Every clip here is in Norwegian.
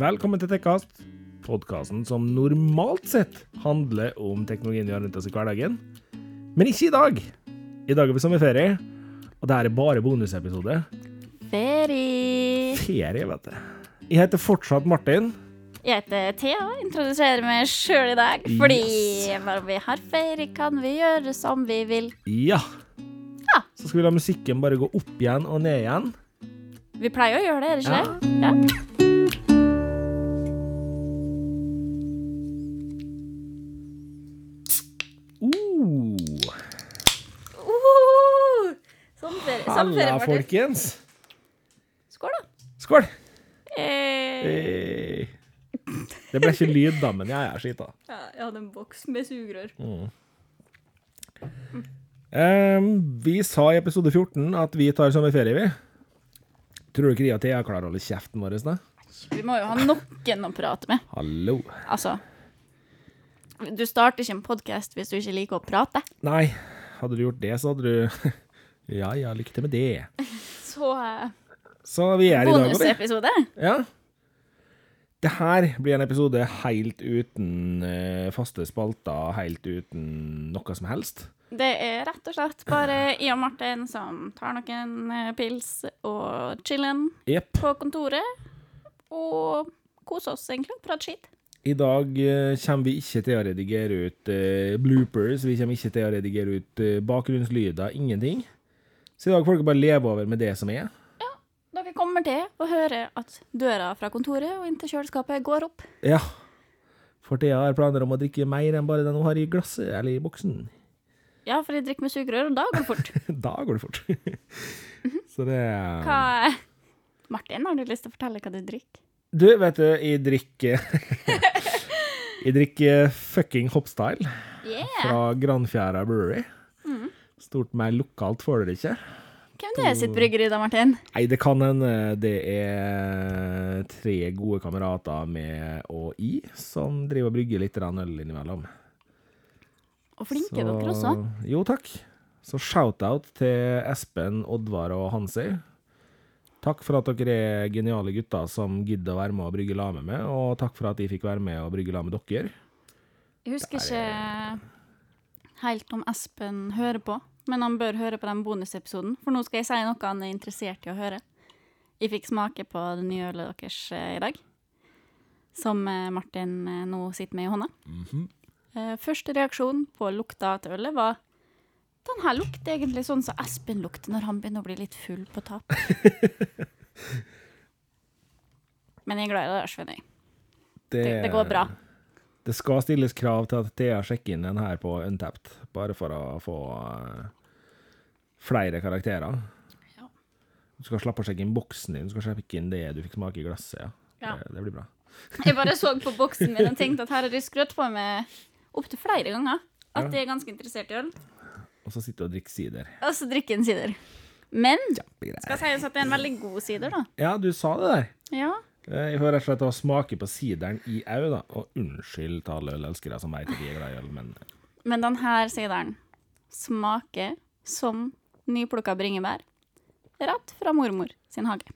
Velkommen til Tekkast, podkasten som normalt sett handler om teknologien vi har rundt oss i hverdagen. Men ikke i dag. I dag er vi sommerferie, og det her er bare bonusepisode. Ferie! Ferie, vet du. Jeg heter fortsatt Martin. Jeg heter Thea og introduserer meg sjøl i dag. Fordi bare vi har ferie, kan vi gjøre som vi vil. Ja. Ja. Så skal vi la musikken bare gå opp igjen og ned igjen. Vi pleier å gjøre det, er det Ja. ikke det? Ja. Uh, Uhuhu! Sånn ferie, sånn ferie Halla, Martin. folkens. Skål, da. Skål. Eh, Hey. Det ble ikke lyd, da, men jeg er skita. ja, jeg hadde en boks med sugerør. Ehm, vi sa i episode 14 at vi tar sommerferie, vi. Tror du ikke de at jeg klarer å holde kjeften vår? Da? Vi må jo ha noen å prate med. Hallo. Altså Du starter ikke en podkast hvis du ikke liker å prate. Nei, hadde du gjort det, så hadde du Ja ja, lykke til med det. Så eh, Så vi er i dag, og vi. bonusepisode. Ja. Det her blir en episode helt uten eh, faste spalter, helt uten noe som helst. Det er rett og slett bare jeg og Martin som tar noen eh, pils og chillen Jepp. på kontoret. Og koser oss egentlig og prater skitt. I dag eh, kommer vi ikke til å redigere ut eh, bloopers, vi kommer ikke til å redigere ut eh, bakgrunnslyder, ingenting. Så i dag får dere bare leve over med det som er. Dere kommer til å høre at døra fra kontoret og inn til kjøleskapet går opp. Ja. For Thea har planer om å drikke mer enn bare den hun har i glasset, eller i boksen. Ja, for jeg drikker med sugerør, og da går det fort. Da går det fort. Så det Hva Martin, har du lyst til å fortelle hva du drikker? Du, vet du, jeg drikker Jeg drikker fucking Hopstyle Yeah! fra Granfjæra Brewery. Stort mer lokalt får dere ikke. Hvem det er sitt bryggeri, da, Martin? Nei, det kan hende det er tre gode kamerater med og i som driver og brygger litt grann øl innimellom. Og flinke Så- dere også. Jo, takk. Så shout-out til Espen, Oddvar og Hansi. Takk for at dere er geniale gutter som gidder å være med og brygge lag med meg, og takk for at jeg fikk være med og brygge lag med dere. Jeg husker ikke helt om Espen hører på, men han bør høre på den bonusepisoden, for nå skal jeg si noe han er interessert i å høre. Jeg fikk smake på det nye ølet deres eh, i dag, som eh, Martin eh, nå sitter med i hånda. Eh, Første reaksjon på lukta til ølet var den her lukter egentlig sånn som Espen lukter når han begynner å bli litt full på tap. Men jeg er glad i det, der, skjønner jeg. Det, det går bra. Det skal stilles krav til at Thea sjekker inn den her på Untapped, bare for å få eh, flere karakterer. Ja. Du skal slappe å sjekke inn boksen din, du skal sjekke inn det du fikk smake i glasset. Ja. Ja. Det, det blir bra. Jeg bare så på boksen min og tenkte at her har de skrøt på meg opptil flere ganger. At de er ganske interessert i øl. Og så sitter du og drikker sider. Og så drikker en sider. Men Kjempegreier. skal sies at det er en veldig god sider, da. Ja, du sa det der. Ja. Eh, Jeg får rett og slett å smake på sideren i au, da. Og unnskyld til alle ølelskere som vet at de er glad i øl, men eh, Men den her sideren smaker som nyplukka bringebær rett fra mormor sin hage.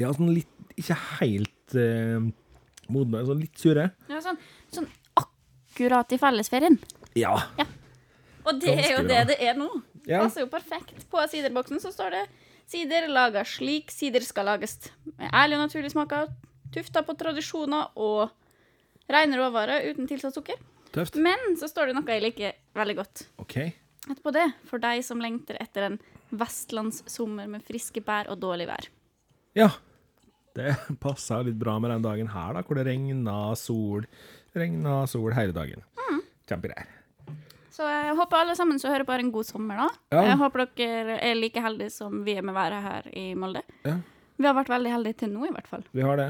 Ja, sånn litt Ikke helt eh, modne, sånn litt sure. Ja, sånn, sånn akkurat i fellesferien. Ja. Og det er jo Ganske det bra. det er nå. Ja. Passer jo perfekt. På siderboksen så står det 'Sider laga slik sider skal lages'. Med ærlig og naturlig smaker, tufta på tradisjoner og rene råvarer uten tilsatt sukker. Tøft. Men så står det noe jeg liker veldig godt OK. etterpå det. For deg som lengter etter en vestlandssommer med friske bær og dårlig vær. Ja. Det passa litt bra med den dagen her, da, hvor det regna sol. Regna sol hele dagen. Mm. Kjempegreier. Så jeg håper alle sammen som hører på, har en god sommer, da. Ja. Jeg håper dere er like heldige som vi er med været her i Molde. Ja, Vi har vært veldig heldige til nå, i hvert fall. vi har det.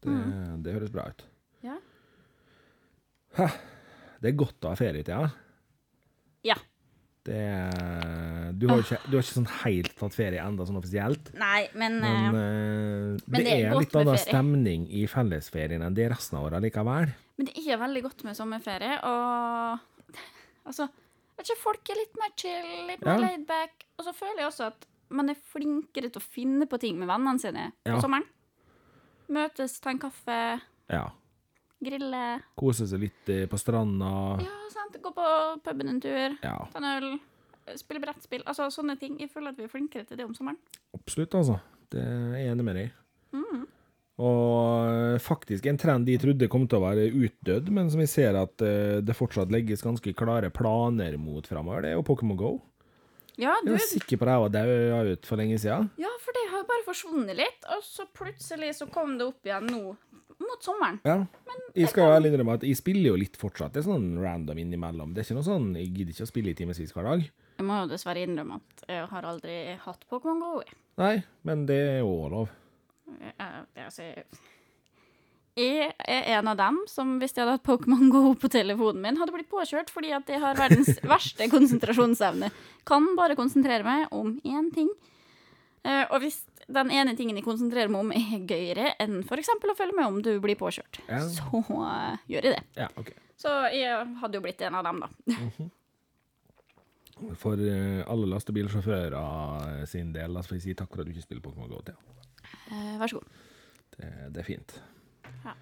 Det, det høres bra ut. Mm. Ja. Det er godt å ha ferie, Thea. ja. Det Du har jo ikke, du har ikke sånn helt tatt ferie enda sånn offisielt. Nei, men, Men, eh, eh, det, Men det er er godt litt med annen ferie. stemning i fellesferien enn det er resten av året likevel. men det er veldig godt med sommerferie, og altså vet ikke, Folk er litt mer chill, litt mer Ja. laid back. Og så føler jeg også at man er flinkere til å finne på ting med vennene sine Ja. på sommeren. Møtes, ta en kaffe, Ja. grille. Kose seg litt eh, på stranda. Ja, sant. Gå på puben en tur. Ja, Ta en øl. Spille brettspill. Altså sånne ting. Jeg føler at vi er flinkere til det om sommeren. absolutt, altså. Det er jeg enig med deg i. Og eh, faktisk en trend jeg trodde kom til å være utdødd, men som jeg ser at eh, det fortsatt legges ganske klare planer mot framover, det er jo Pokémon GO. Ja, du Jeg var sikker på at jeg var daua ut for lenge siden. Ja, for det har jo bare forsvunnet litt, og så plutselig så kom det opp igjen nå, mot sommeren. Ja. Jeg skal jo ærlig innrømme at jeg spiller jo litt fortsatt. Det er sånn random innimellom. Det er ikke noe sånn jeg gidder ikke å spille i timevis hver dag. Jeg må jo dessverre innrømme at jeg har aldri hatt Pokémon GO. Jeg, Nei, men det er jo lov. jeg, jeg, altså, jeg, jeg er en av dem som, hvis jeg hadde hatt Pokémon GO på telefonen min, hadde blitt påkjørt fordi at jeg har verdens verste konsentrasjonsevne. Kan bare konsentrere meg om én ting. Eh, Og hvis den ene tingen jeg konsentrerer meg om, er gøyere enn f.eks. å følge med om du blir påkjørt, Ja. så eh, gjør jeg det. Ja, ok. Så jeg hadde jo blitt en av dem, da. For eh, alle lastebilsjåfører sin del, da får jeg si takk for at du ikke spiller Pokémon GO. Ja. Eh, Vær så god. Det, det er fint. Hva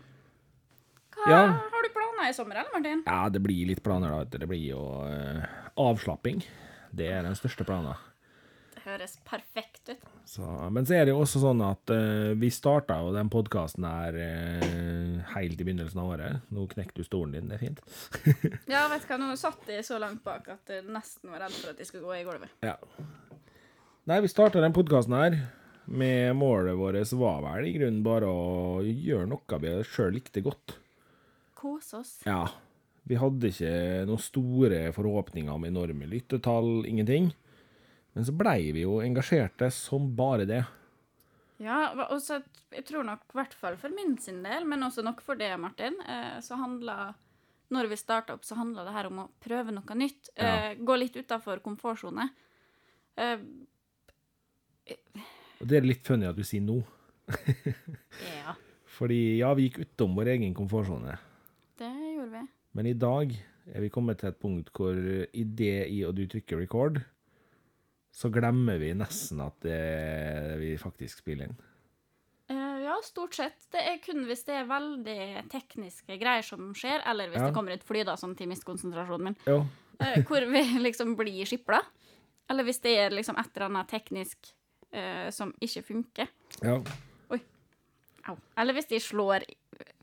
Ja. har du planer i sommer, eller, Martin? Ja, det blir litt planer, da. vet du. Det blir jo eh, avslapping. Det er den største planen. Det høres perfekt ut. Så, men så er det jo også sånn at eh, vi starta jo den podkasten her eh, helt i begynnelsen av året. Nå knekte du stolen din, det er fint. Ja, vet du hva, nå satt jeg så langt bak at jeg nesten var redd for at jeg skulle gå i gulvet. Ja. Nei, vi starta den podkasten her med målet vårt var vel i grunnen bare å gjøre noe vi sjøl likte godt. Kose oss. Ja. Vi hadde ikke noen store forhåpninger om enorme lyttetall, ingenting. Men så blei vi jo engasjerte som bare det. Ja, hva- og så jeg tror nok, i hvert fall for min sin del, men også nok for det, Martin, eh, så handla Når vi starta opp, så handla det her om å prøve noe nytt. Eh, Gå litt utafor komfortsone. Eh, Og det er litt funny at du sier nå. ja, Fordi ja, vi gikk utom vår egen komfortsone. det gjorde vi. Men i dag er vi kommet til et punkt hvor idet i og du trykker record, så glemmer vi nesten at det, vi faktisk spiller inn. Eh, ja, stort sett. Det er kun hvis det er veldig tekniske greier som skjer, eller hvis Ja. det kommer et fly, da, sånn til miskonsentrasjonen min, Jo. eh, hvor vi liksom blir skipla. Eller hvis det er liksom et eller annet teknisk eh, som ikke funker. Ja. Au. Eller hvis de slår,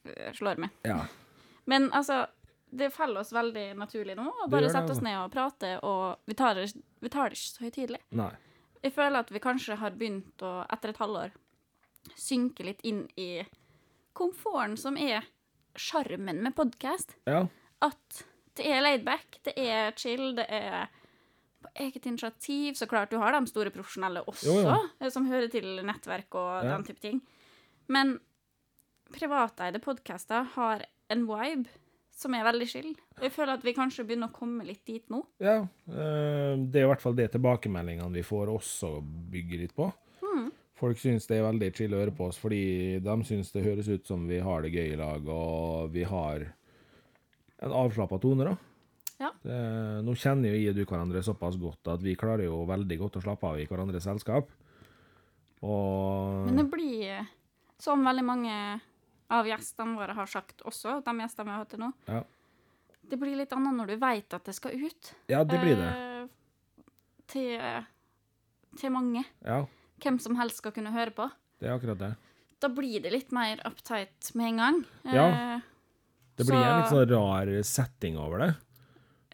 eh, slår meg. ja. Men altså, det faller oss veldig naturlig nå Det å gjør bare det, sette altså. oss ned og prate, og vi tar det, vi tar det ikke så høytidelig. Nei. Jeg føler at vi kanskje har begynt å, etter et halvår, synke litt inn i komforten som er sjarmen med podkast. Ja. At det er laidback, det er chill, det er på eget initiativ. Så klart, du har de store profesjonelle også, Jo, jo. eh, som hører til nettverk og Ja. den type ting. Men privateide podkaster har en vibe som er veldig chill. Og jeg føler at vi kanskje begynner å komme litt dit nå. ja. eh, Det er i hvert fall det tilbakemeldingene vi får også bygger litt på. Hmm. Folk syns det er veldig chill å høre på oss, fordi de syns det høres ut som vi har det gøy i lag, og vi har en avslappa tone, da. Ja. Det, nå kjenner jo jeg og du hverandre såpass godt at vi klarer jo veldig godt å slappe av i hverandres selskap. Og Men det blir, eh, som veldig mange av gjestene våre har sagt også, de gjestene vi har hatt til nå, ja. det blir litt annet når du veit at det skal ut. ja, det blir det. Eh, til, eh, til mange. Ja, Hvem som helst skal kunne høre på. det er akkurat det. Da blir det litt mer uptight med en gang. Eh, Ja. Det blir en Så- litt sånn rar setting over det.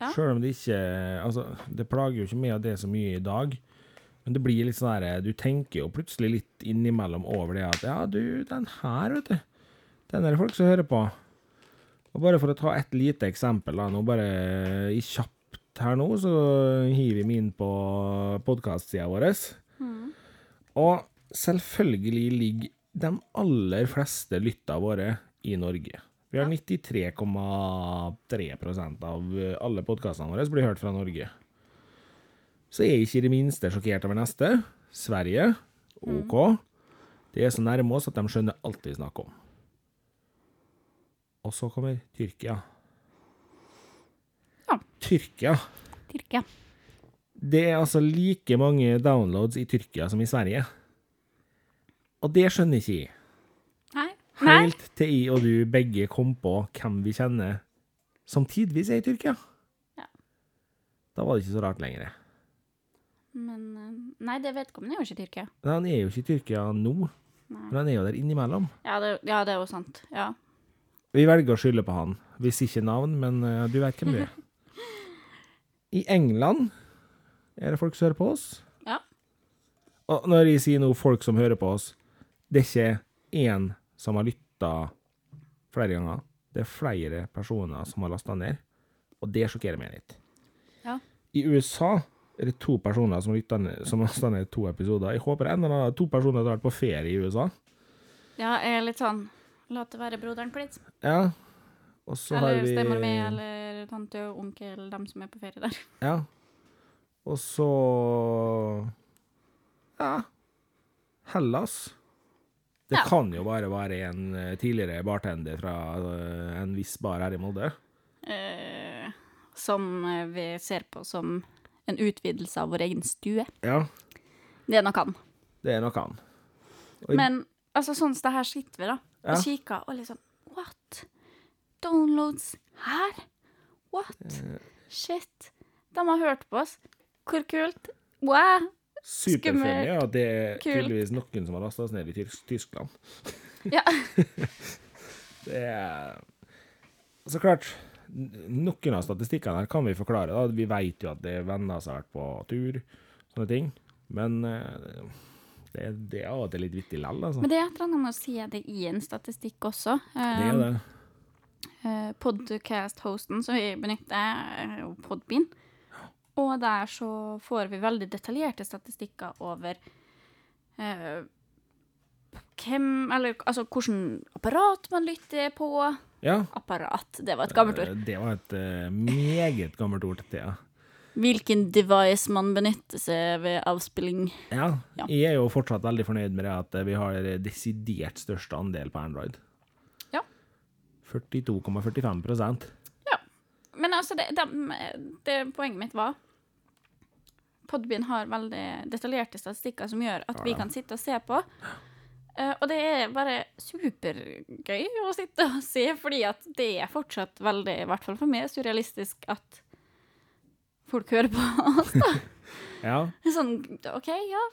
Ja. Selv om det ikke Altså, det plager jo ikke meg at det er så mye i dag. Men det blir litt sånn der Du tenker jo plutselig litt innimellom over det at Ja, du, den her, vet du. Den er det folk som hører på. Og bare for å ta et lite eksempel, da. Nå bare i kjapt her nå, så hiver vi meg inn på podkastsida vår. Og selvfølgelig ligger de aller fleste lytta våre i Norge. Vi har 93,3 av eh, alle podkastene våre som blir hørt fra Norge. Så er jeg ikke i det minste sjokkert over neste. Sverige, OK. Det er så nærme oss at de skjønner alt vi snakker om. Og så kommer Tyrkia. Ja. Tyrkia. Tyrkia. Det er altså like mange downloads i Tyrkia som i Sverige. Og det skjønner ikke jeg. Nei, Nei. Helt til jeg og du begge kom på hvem vi kjenner som tidvis er i Tyrkia. Ja. Da var det ikke så rart lenger. Men eh, Nei, det vedkommende er jo ikke i Tyrkia. Men han er jo ikke i Tyrkia nå, Nei. men han er jo der innimellom. Ja, det, ja, det er jo sant. Ja. Vi velger å skylde på han. Hvis ikke navn, men eh, du vet hvem du er. I England er det folk som hører på oss. Ja. Og når jeg sier nå folk som hører på oss, det er ikke én som har lytta flere ganger. Det er flere personer som har lasta ned, og det sjokkerer meg litt. Ja. I USA er det to personer som har lyttet ned- som har lasta ned to episoder. Jeg håper en eller annen to personer har vært på ferie i USA. ja, jeg er litt sånn La det være broderen klitt. Ja. Og så har Eller vi stemmer med, eller tante og onkel, dem som er på ferie der. Ja. Og så Ja. Hellas. Det Ja. kan jo bare være en eh, tidligere bartender fra eh, en viss bar her i Molde. Eh, som eh, vi ser på som en utvidelse av vår egen stue. Ja, Det er nok han. det er nok han. Oi. Men altså, sånn som det her sitter vi, da, og Ja. kikker, og liksom What? Downloads her? What? Eh. Shit. De har hørt på oss. Hvor kult. Wow. Superfunny Skummelt. at det er Kult. tydeligvis noen som har lasta oss ned i Tysk Tyskland. Ja. Det er Så klart, n- noen av statistikkene her kan vi forklare. da. Vi vet jo at det er venner som har vært på tur, sånne ting. Men eh, det, det er av og til litt vittig lell, altså. Men det er et eller annet med å si det i en statistikk også. Um, eh, Det er det. Podcast-hosten som vi benytter, er jo Podbean. Og der så får vi veldig detaljerte statistikker over eh, hvem Eller altså hvilket apparat man lytter på. Ja. Apparat, det var et gammelt ord. eh, Det var et eh, meget gammelt ord til Thea. Hvilken device man benytter seg ved avspilling. Ja. Ja. Jeg er jo fortsatt veldig fornøyd med det at eh, vi har desidert største andel på Android. Ja. 42,45 Men altså, det, dem- det poenget mitt var Podbean har veldig detaljerte statistikker som gjør at vi kan sitte og se på. Eh, og det er bare supergøy å sitte og se, fordi at det er fortsatt veldig, i hvert fall for meg, surrealistisk at folk hører på oss. da. Ja. Sånn OK, ja,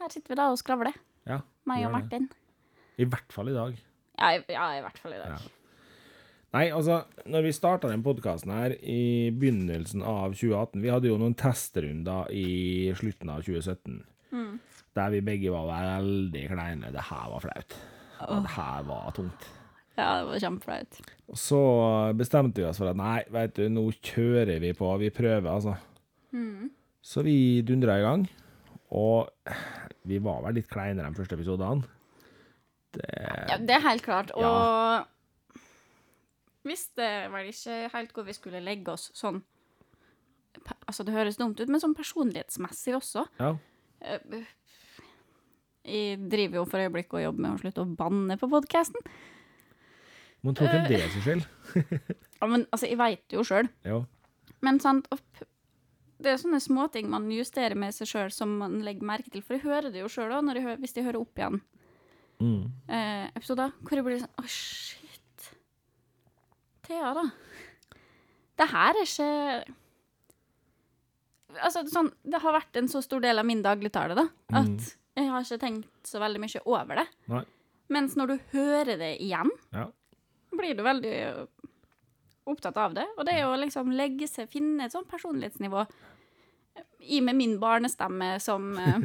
her sitter vi da og skravler, ja. meg gjør og det. Martin. I hvert fall i dag. Ja, i- ja i hvert fall i dag. Nei, altså, når vi starta den podkasten her i begynnelsen av 2018 Vi hadde jo noen testrunder i slutten av 2017. Mm. Der vi begge var veldig kleine. Det her var flaut. Og det her var tungt. Ja, det var kjempeflaut. Og så bestemte vi oss for at nei, vet du, nå kjører vi på. Vi prøver, altså. Så vi dundra i gang. Og vi var vel litt kleinere enn første episodene. Ja, det er helt klart. Og Ja. visste vel ikke helt hvor vi skulle legge oss sånn pe- Altså, det høres dumt ut, men sånn personlighetsmessig også. Ja. Eh, Jeg driver jo for øyeblikket og jobber med å slutte å banne på podkasten. Man tror ikke det er sin skyld. Ja, men altså, jeg veit jo sjøl. Jo. Men sant, og p- det er sånne småting man justerer med seg sjøl som man legger merke til. For jeg hører det jo sjøl òg, hvis jeg hører opp igjen Mm. eh, episoder, hvor jeg blir sånn Å, shit. Thea, da. Det her er ikke Altså, sånn, det har vært en så stor del av min dagligtale, da, at jeg har ikke tenkt så veldig mye over det. Nei. Mens når du hører det igjen, Ja. blir du veldig opptatt av det. Og det er jo liksom legge seg, finne et sånt personlighetsnivå i med min barnestemme som eh,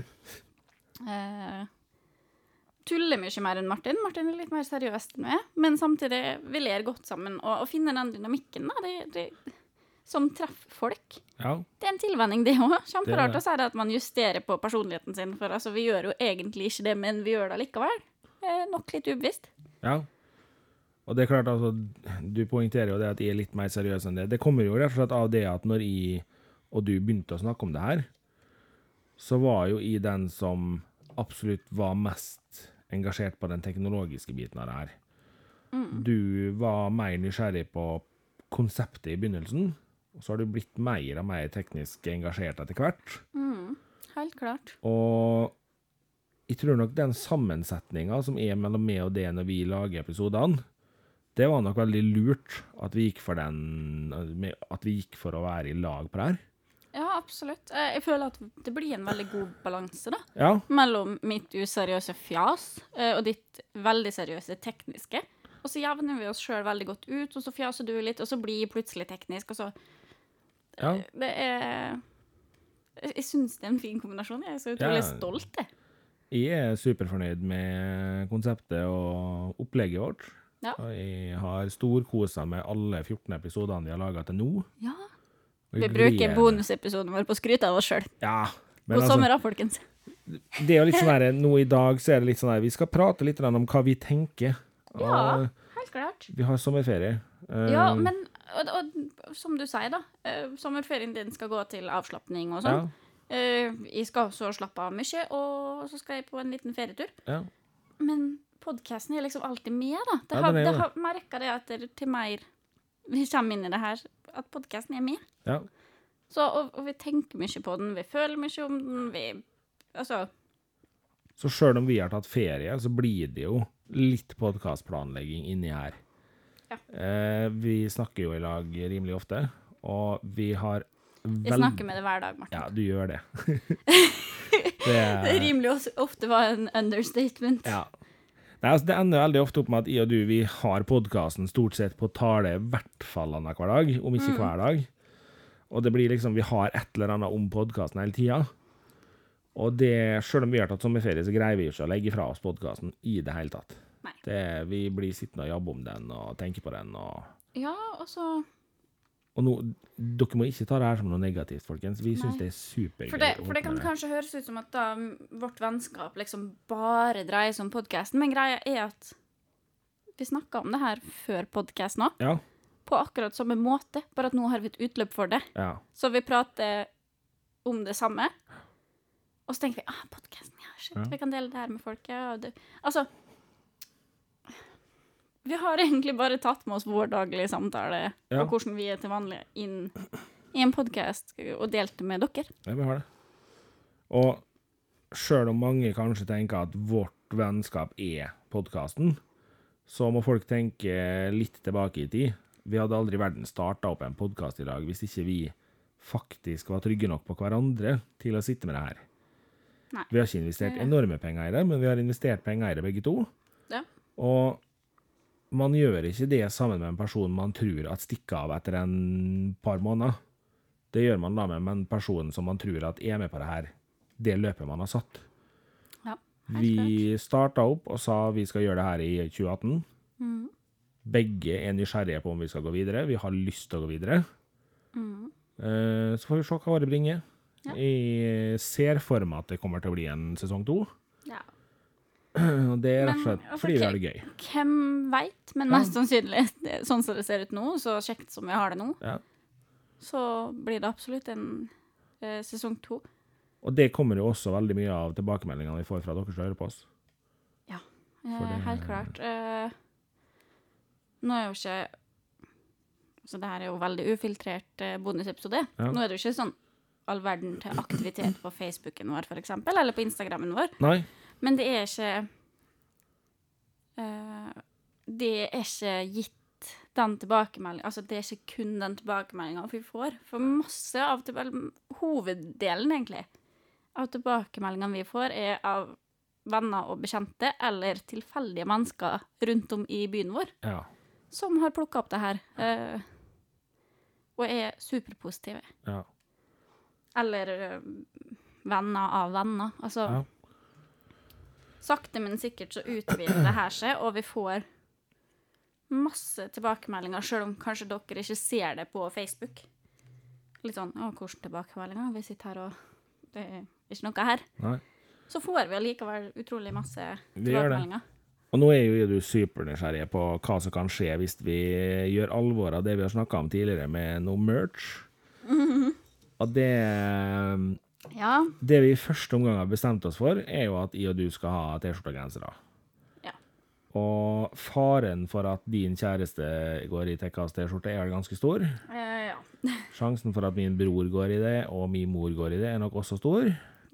eh, tuller mye mer enn Martin. Martin er litt mer seriøs enn meg, men samtidig vi ler godt sammen. Og å finne den dynamikken da, det, det, som treffer folk, ja. det er en tilvenning, det òg. Det er Kjemperart det. å si det at man justerer på personligheten sin, for altså, vi gjør jo egentlig ikke det, men vi gjør det likevel. Eh, nok litt ubevisst. Ja. Og det er klart, altså, du poengterer jo det at jeg er litt mer seriøs enn det. Det kommer jo rett og slett av det at når jeg og du begynte å snakke om det her, så var jo jeg den som absolutt var mest engasjert på den teknologiske biten av det her. Du var mer nysgjerrig på konseptet i begynnelsen, og så har du blitt mer og mer teknisk engasjert etter hvert. Helt klart. Og jeg tror nok den sammensetninga som er mellom meg og det når vi lager episodene, det var nok veldig lurt at vi gikk for den At vi gikk for å være i lag på det her. Ja, absolutt. Eh, Jeg føler at det blir en veldig god balanse, da. Ja. Mellom mitt useriøse fjas eh, og ditt veldig seriøse tekniske. Og så jevner vi oss sjøl veldig godt ut, og så fjaser du litt, og så blir jeg plutselig teknisk, og så ja. Det er Jeg, jeg syns det er en fin kombinasjon. Jeg er så utrolig Ja. stolt, jeg. Jeg er superfornøyd med konseptet og opplegget vårt. Ja. Og Jeg har storkosa med alle 14 episodene vi har laga til nå. Ja. Og Vi jeg gleder bruker meg. bonusepisoden vår på å skryte av oss sjøl. Ja. Men God altså, sommer da, folkens. det er jo litt sånn her, nå i dag så er det litt sånn her, vi skal prate litt grann om hva vi tenker. Ja, Og helt klart. Vi har sommerferie. Eh, Ja, men og, og, som du sier, da. eh, Sommerferien din skal gå til avslapning og sånn. ja, Eh, jeg skal også slappe av mye, og så skal jeg på en liten ferietur. ja. Men podkasten er liksom alltid med, da. Det Ja, har, den er det jo har merka det at det- til mer vi kommer inn i det her, at podkasten er med. ja. Så, og, og vi tenker mye på den, vi føler mye om den, vi Altså, Så sjøl om vi har tatt ferie, så blir det jo litt podkastplanlegging inni her. Ja. Eh, vi snakker jo i lag rimelig ofte, og vi har jeg vel- snakker med det hver dag, Martin. Ja, du gjør det. det Det er rimelig også, ofte var en understatement. ja. Nei, altså, det ender veldig ofte opp med at jeg og du vi har podkasten stort sett på tale i hvert fall annenhver dag, om ikke Mm. hver dag. Og det blir liksom, vi har et eller annet om podkasten hele tida. Og det, sjøl om vi har tatt sommerferie, så greier vi jo ikke å legge fra oss podkasten i det hele tatt. Nei. Det, vi blir sittende og jobbe om den og tenke på den. Og, Ja, og så og nå, dere må ikke ta det her som noe negativt, folkens. Vi syns Nei. det er supergøy. For det, å for holde det på kan med kanskje høres ut som at da mm, vårt vennskap liksom bare dreier seg om podkasten, men greia er at vi snakka om det her før podkasten òg, Ja, på akkurat samme måte, bare at nå har vi et utløp for det. ja. Så vi prater om det samme, og så tenker vi ah, podkasten, ja, shit, Ja. vi kan dele det her med folk. Ja, og det. Altså Vi har egentlig bare tatt med oss vår daglige samtale Ja. og hvordan vi er til vanlig, inn i en podkast og delt det med dere. Ja, vi har det. Og sjøl om mange kanskje tenker at vårt vennskap er podkasten, så må folk tenke litt tilbake i tid. Vi hadde aldri i verden starta opp en podkast i dag hvis ikke vi faktisk var trygge nok på hverandre til å sitte med det her. Nei. Vi har ikke investert enorme penger i det, men vi har investert penger i det begge to. Ja. Og man gjør ikke det sammen med en person man tror at stikker av etter en par måneder. Det gjør man da med en person som man tror at er med på det her, det løpet man har satt. Ja, helt klart. Vi starta opp og sa vi skal gjøre det her i 2018. Mhm. Begge er nysgjerrige på om vi skal gå videre. Vi har lyst til å gå videre. Mhm. Eh, Så får vi se hva året bringer. Ja. Jeg ser for meg at det kommer til å bli en sesong to. Ja. Og det er rett og Men, slett altså, fordi vi ok. har det gøy. Hvem veit, men Ja. mest sannsynlig, det, sånn som det ser ut nå, så kjekt som vi har det nå, Ja. så blir det absolutt en eh, sesong to. Og det kommer jo også veldig mye av tilbakemeldingene vi får fra dere som hører på oss. Eh, For det- Helt klart. Eh, nå er jo ikke Så det her er jo veldig ufiltrert eh, bonusepisode. Ja. Nå er det jo ikke sånn all verden til aktivitet på Facebooken vår, f.eks., eller på Instagrammen vår. Nei, Men det er ikke eh, Det er ikke gitt den tilbakemeldingen Altså, det er ikke kun den tilbakemeldingen vi får. For masse av tilba- eller Hoveddelen, egentlig, av tilbakemeldingene vi får, er av venner og bekjente eller tilfeldige mennesker rundt om i byen vår ja. som har plukka opp det her. eh, og er superpositive. Ja. Eller eh, venner av venner. Altså Ja. Sakte, men sikkert så utvider det her seg, og vi får masse tilbakemeldinger, sjøl om kanskje dere ikke ser det på Facebook. Litt sånn 'Å, hvordan tilbakemeldinger?' Vi sitter her, og det er ikke noe her. Nei. Så får vi allikevel utrolig masse Vi gjør det. tilbakemeldinger. Og nå er jo du supernysgjerrig på hva som kan skje hvis vi gjør alvor av det vi har snakka om tidligere, med noe merch. Og det Ja. Det vi i første omgang har bestemt oss for, er jo at jeg og du skal ha T-skjorte og gensere. Ja. Og faren for at din kjæreste går i Tekkas T-skjorte, er vel ganske stor. Eh, ja. Sjansen for at min bror går i det, og min mor går i det, er nok også stor.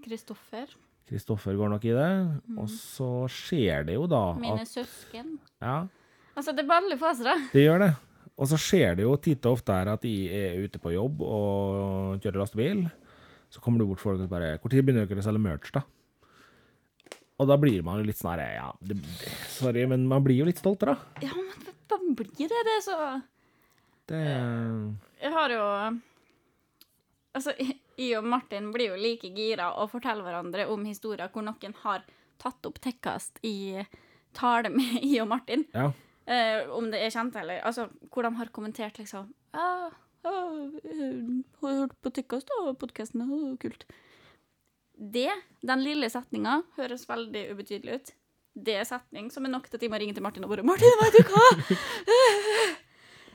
Kristoffer. Kristoffer går nok i det. Og så skjer det jo da Mine at søsken. ja, Altså, det er baller på oss, da. Det gjør det. Og så skjer det jo titt og ofte her at de er ute på jobb og kjører lastebil. Så kommer det bort folk og bare 'Når begynner dere å selge merch, da?' Og da blir man jo litt sånn her Ja, det, sorry, men man blir jo litt stolt, da. Ja, men hva blir det? Det er så Det Jeg har jo Altså, jeg og Martin blir jo like gira og forteller hverandre om historier hvor noen har tatt opp tekkast i tale med jeg og Martin. Ja. Eh, om det er kjent, eller Altså, hvor de har kommentert, liksom ah, ah, eh, 'Har du hørt på Tykkast, da? Podkasten er kult.' Det, den lille setninga, høres veldig ubetydelig ut. Det er setning som er nok til at jeg må ringe til Martin og bare 'Martin, vet du hva?'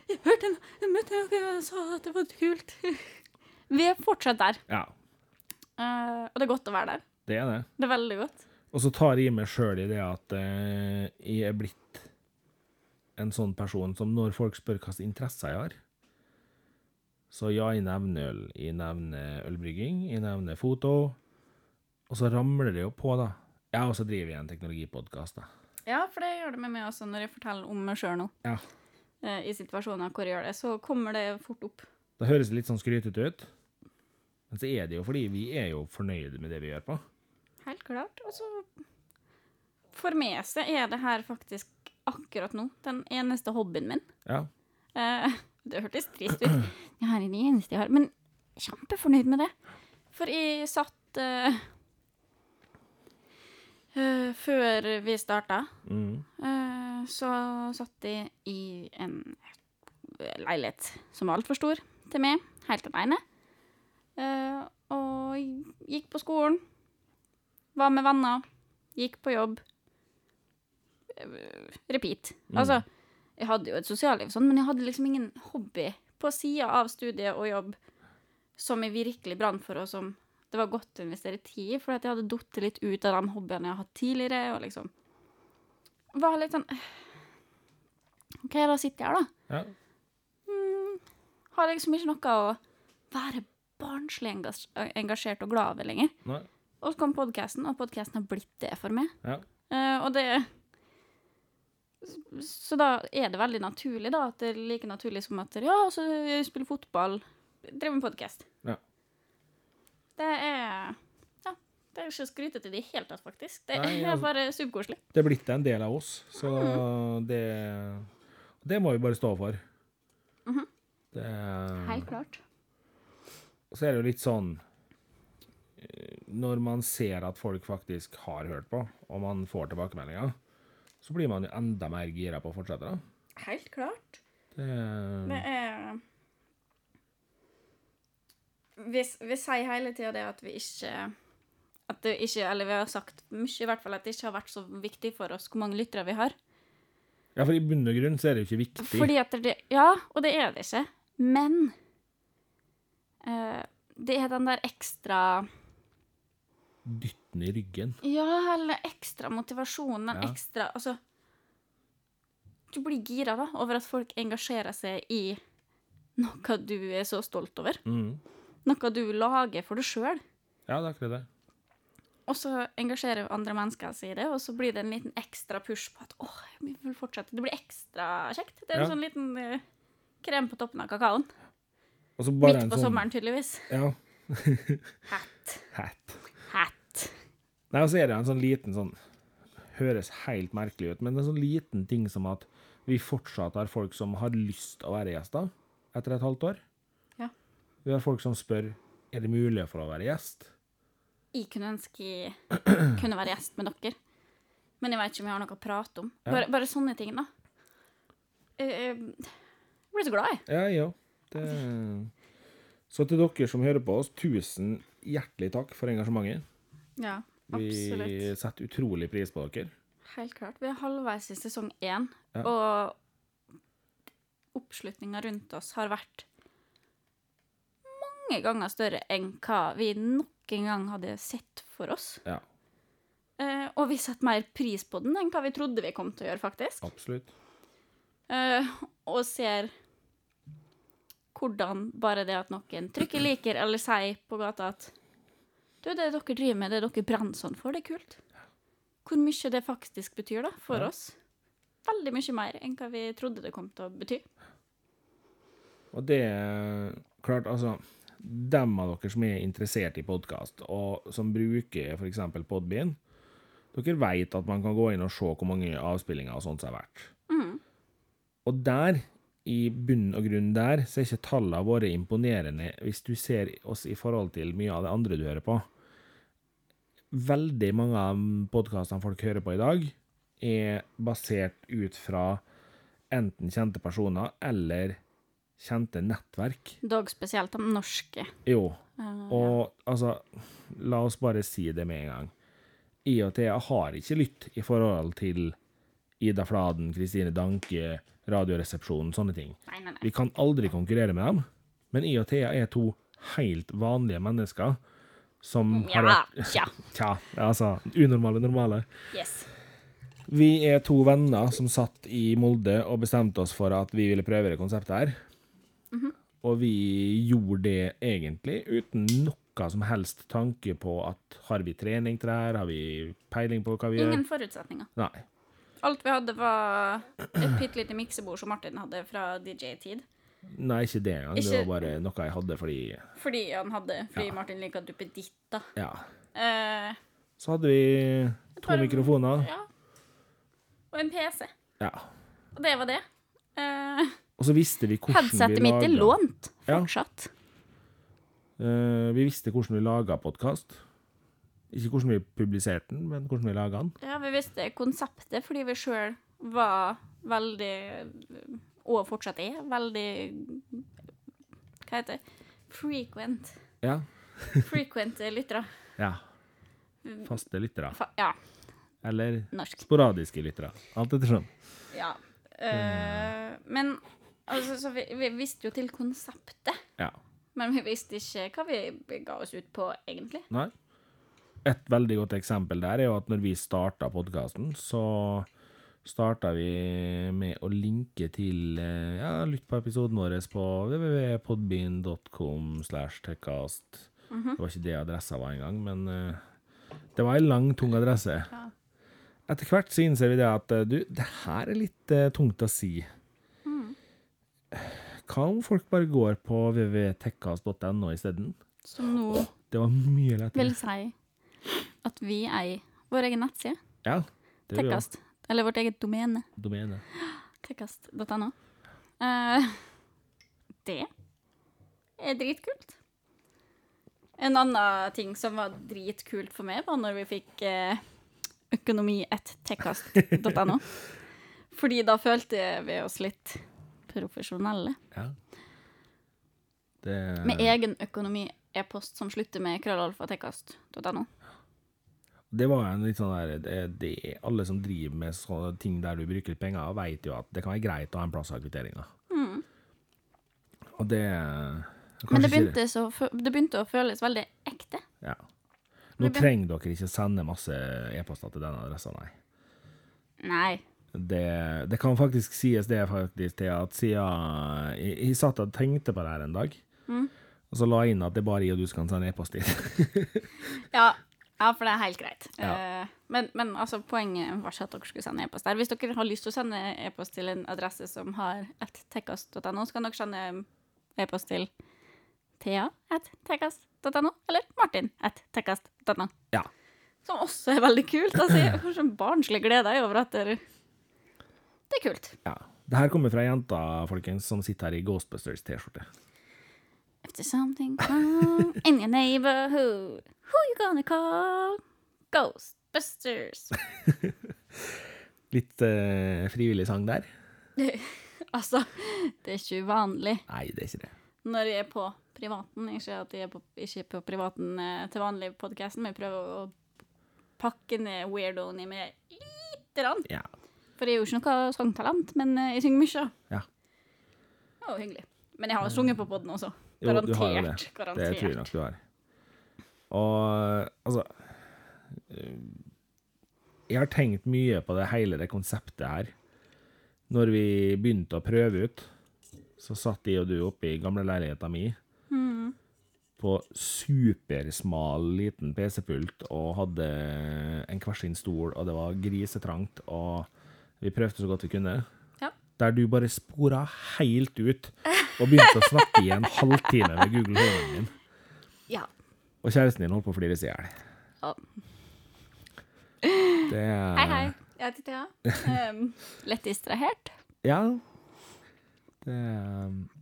Jeg hørte en jeg møtte en som sa at det var kult. Vi er fortsatt der, ja. eh, og det er godt å være der. Det er det. Det er veldig godt. Og så tar jeg meg sjøl i det at eh, jeg er blitt en sånn person som når folk spør hva slags interesser jeg har Så ja, jeg nevner øl. Jeg nevner ølbrygging. Jeg nevner foto. Og så ramler det jo på, da. Ja, og så driver jeg en teknologipodkast, da. Ja, for det gjør det med meg også når jeg forteller om meg sjøl nå. Ja. eh, I situasjoner hvor jeg gjør det, så kommer det fort opp. Det høres litt sånn skrytete ut. Men så er det jo fordi vi er jo fornøyde med det vi gjør på. Helt klart. Og så For meg så er det her faktisk akkurat nå den eneste hobbyen min. Ja. Eh, det hørtes trist ut. Jeg er den eneste jeg har. Men kjempefornøyd med det. For jeg satt eh, eh, Før vi starta, Mm. eh, så satt jeg i en leilighet som var altfor stor til meg, helt aleine. Eh, og gikk på skolen, var med venner, gikk på jobb. Eh, repeat. Altså, jeg hadde jo et sosialliv, og sånn, men jeg hadde liksom ingen hobby på sida av studie og jobb som jeg virkelig brant for, og som det var godt å investere tid i, for at jeg hadde datt litt ut av de hobbyene jeg har hatt tidligere. og liksom var litt sånn øh, OK, da sitter jeg her, da ja. har liksom ikke noe å være barnslig engas engasjert og glad over lenger. Nei. Og så kom podkasten, og podkasten har blitt det for meg. Ja. Eh, og det Så da er det veldig naturlig, da. At det er like naturlig som at ja, så jeg spiller fotball, driver med podkast. Ja. Det er Ja, det er ikke skrytete i det hele tatt, faktisk. Det Nei, er altså- bare superkoselig. det er blitt en del av oss, så Mhm. det Det må vi bare stå for. Mhm. det, Helt klart. så er det jo litt sånn eh, Når man ser at folk faktisk har hørt på, og man får tilbakemeldinger, så blir man jo enda mer gira på å fortsette. da. Helt klart. Det, Det er Vi, s- vi sier hele tida det at vi ikke At det ikke Eller vi har sagt mye, i hvert fall, at det ikke har vært så viktig for oss hvor mange lyttere vi har. ja, for i bunn og grunn så er det jo ikke viktig. Fordi at det Ja, og det er det ikke. Men eh, det er den der ekstra Dytten i ryggen. Ja, eller ekstra motivasjonen, den Ja. ekstra Altså Du blir gira, da, over at folk engasjerer seg i noe du er så stolt over. Mhm. noe du lager for deg sjøl, Ja, det er akkurat det. og så engasjerer andre mennesker seg i det, og så blir det en liten ekstra push på at åh, vi vil fortsette. Det blir ekstra kjekt. Det er Ja. en sånn liten eh, krem på toppen av kakaoen. Og så bare Midt en på sånn, sommeren, tydeligvis. Ja. Hat. Hat. Hat. Nei, og så er det en sånn liten sånn Høres helt merkelig ut, men det er en sånn liten ting som at vi fortsatt har folk som har lyst å være gjester etter et halvt år. Ja. Vi har folk som spør er det mulig for å være gjest. Jeg kunne ønske jeg kunne være gjest med dere, men jeg veit ikke om jeg har noe å prate om. Ja. Bare, bare sånne ting, da. Eh, eh, Jeg blir så glad, jeg. Ja, ja. Det... Så til dere som hører på oss, tusen hjertelig takk for engasjementet. Ja, Vi setter utrolig pris på dere. Helt klart. Vi er halvveis i sesong én, Ja. og oppslutninga rundt oss har vært mange ganger større enn hva vi nok en gang hadde sett for oss. Ja, Eh, og vi setter mer pris på den enn hva vi trodde vi kom til å gjøre, faktisk. absolutt. Eh, og ser hvordan bare det at noen trykker liker eller sier på gata at Du, det dere driver med, det dere brenner sånn for, det er kult. Hvor mye det faktisk betyr da, for Ja. oss. Veldig mye mer enn hva vi trodde det kom til å bety. Og det er klart, altså Dem av dere som er interessert i podkast, og som bruker f.eks. Podbean, dere vet at man kan gå inn og se hvor mange avspillinger og sånt som er verdt. Og der, i bunn og grunn der, så er ikke tallene våre imponerende hvis du ser oss i forhold til mye av det andre du hører på. Veldig mange av podkastene folk hører på i dag, er basert ut fra enten kjente personer eller kjente nettverk. Dog spesielt de norske. Jo. Eh, Og altså, la oss bare si det med en gang. IOT har ikke lytt i forhold til Ida Fladen, Kristine Danke, Radioresepsjonen, sånne ting. Nei, nei, nei. Vi kan aldri konkurrere med dem, men IOT er to helt vanlige mennesker som Mm, har Mm, Ja, vært ja. Tja, altså unormale normale. Yes. Vi er to venner som satt i Molde og bestemte oss for at vi ville prøve det konseptet her. Mhm. Og vi gjorde det egentlig uten noe som helst tanke på at har vi trening til det her, har vi peiling på hva vi gjør? Ingen forutsetninger. Nei. Alt vi hadde, var et bitte lite miksebord som Martin hadde fra DJ-tid. Nei, ikke det engang. Det Ikke- var bare noe jeg hadde fordi Fordi han hadde Fordi Martin liker at du peditter. Ja. Eh, Så hadde vi to Bare- mikrofoner. ja. Og en PC. Ja. Og det var det. Eh, Og så visste vi hvordan headsetet vi mitt er laget- lånt Ja. fortsatt. Eh, vi visste hvordan vi laga podkast. Ikke hvordan vi publiserte den, men hvordan vi laga den. Ja, vi visste konseptet fordi vi sjøl var veldig Og fortsatt er veldig Hva heter det? Frequent. Ja. Frequent lyttere. Ja. Faste lyttere. Fa- Ja, Eller norsk. sporadiske lyttere. Alt ettersom. Ja. Eh, men altså, så vi, vi visste jo til konseptet, Ja. men vi visste ikke hva vi ga oss ut på, egentlig. Nei. Et veldig godt eksempel der er jo at når vi starta podkasten, så starta vi med å linke til eh, Ja, lytt på episoden vår på www.podbean.com slash techcast. Det var ikke det adressa var engang, men eh, det var ei lang, tung adresse. Ja. Etter hvert så innser vi det at eh, du, det her er litt eh, tungt å si. Hva om folk bare går på www.techcast.no isteden? Som nå Det var mye lettere. vil si at vi eier vår egen nettside, Ja. Det er jo Tekkast. Eller vårt eget domene, domene. tekkast.no. Eh, det er dritkult. En annen ting som var dritkult for meg, var når vi fikk eh, økonomi1tekkast.no. Fordi da følte vi oss litt profesjonelle. Ja. Det Med egen økonomi-e-post som slutter med krøllalfa.tekkast.no. Det var jo en litt sånn der det, det er Alle som driver med sånne ting der du bruker litt penger, vet jo at det kan være greit å ha en plass av kvitteringa. Og det kanskje Mm. Men det ikke begynte, så, fø- det begynte å føles veldig ekte. Ja. Nå det begyn- trenger dere ikke sende masse e-poster til denne adressa, nei. Nei. Det, det kan faktisk sies det faktisk til at siden jeg, jeg satt og tenkte på det her en dag, Mm. og så la jeg inn at det er bare jeg og du som kan sende e-post dit. Ja, ja, for det er helt greit. Ja. Eh, Men, men altså, poenget var ikke at dere skulle sende e-post der. Hvis dere har lyst til å sende e-post til en adresse som har et tekkast.no, så kan dere sende e-post til Thea at tekkast.no eller Martin at tekkast.no. Ja. Som også er veldig kult. Altså, jeg får sånn barnslig glede over at dere Det er kult. Ja. Det her kommer fra jenta, folkens, som sitter her i Ghostbusters-T-skjorte. If there's something wrong in your neighborhood, who you gonna call? Ghostbusters. Litt eh, frivillig sang der? Altså, det er ikke uvanlig Nei, det er ikke det. når jeg er på privaten. Ikke at jeg er på, ikke er på privaten eh, til vanlig i podkasten, men jeg prøver å pakke ned weirdoen i meg lite grann. Ja. For jeg er jo ikke noe sangtalent, men eh, jeg synger mye. Ja. Det var jo hyggelig. Men jeg har jo sunget på poden også. Jo, du har jo Garantert. Det tror jeg garantert. nok du har. Og altså eh, Jeg har tenkt mye på det hele det konseptet her. Når vi Mm. begynte å prøve ut, så satt de og du oppe i gamle leiligheta mi på supersmal, liten PC-pult og hadde en hver sin stol, og det var grisetrangt, og vi prøvde så godt vi kunne. Ja. Der du bare spora helt ut og begynte å snakke i en halvtime med Google Home-en din. Ja. Og kjæresten din holdt på å flire seg i hjel. Ja. Det er- Hei, hei. Jeg heter Thea. Ehm, lett distrahert. Ja. Det er-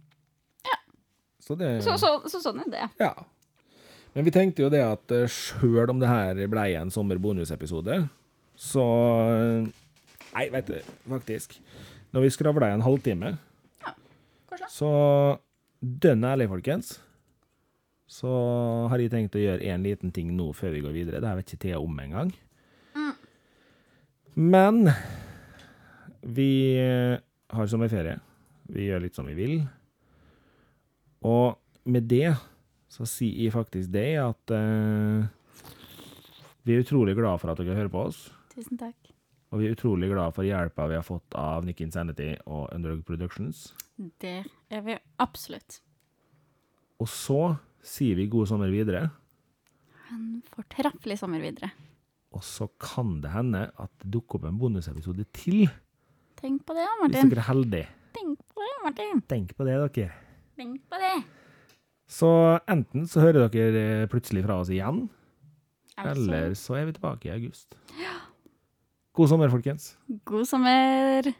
Så det Så, så, så sånn er det. Ja. Men vi tenkte jo det at eh, sjøl om det her blei en sommerbonusepisode, så eh, Nei, vet du, faktisk. Når vi skravla i en halvtime, Kanskje. så dønn ærlig, folkens, så har jeg tenkt å gjøre én liten ting nå før vi går videre. Det her vet ikke Thea om engang. Men vi eh, har sommerferie. Vi gjør litt som vi vil. Og med det så sier jeg faktisk det at eh, vi er utrolig glad for at dere hører på oss. Tusen takk. Og vi er utrolig glad for hjelpa vi har fått av Nick Insanity og Underdog Productions. Det er vi absolutt. Og så sier vi god sommer videre. En fortreffelig sommer videre. Og så kan det hende at det dukker opp en bonusepisode til, Tenk på det, hvis Martin. dere er heldige. Tenk på det, Martin. Tenk på det, dere. Tenk på det. Så enten så hører dere eh, plutselig fra oss igjen, eller så er vi tilbake i august. God sommer, folkens. God sommer.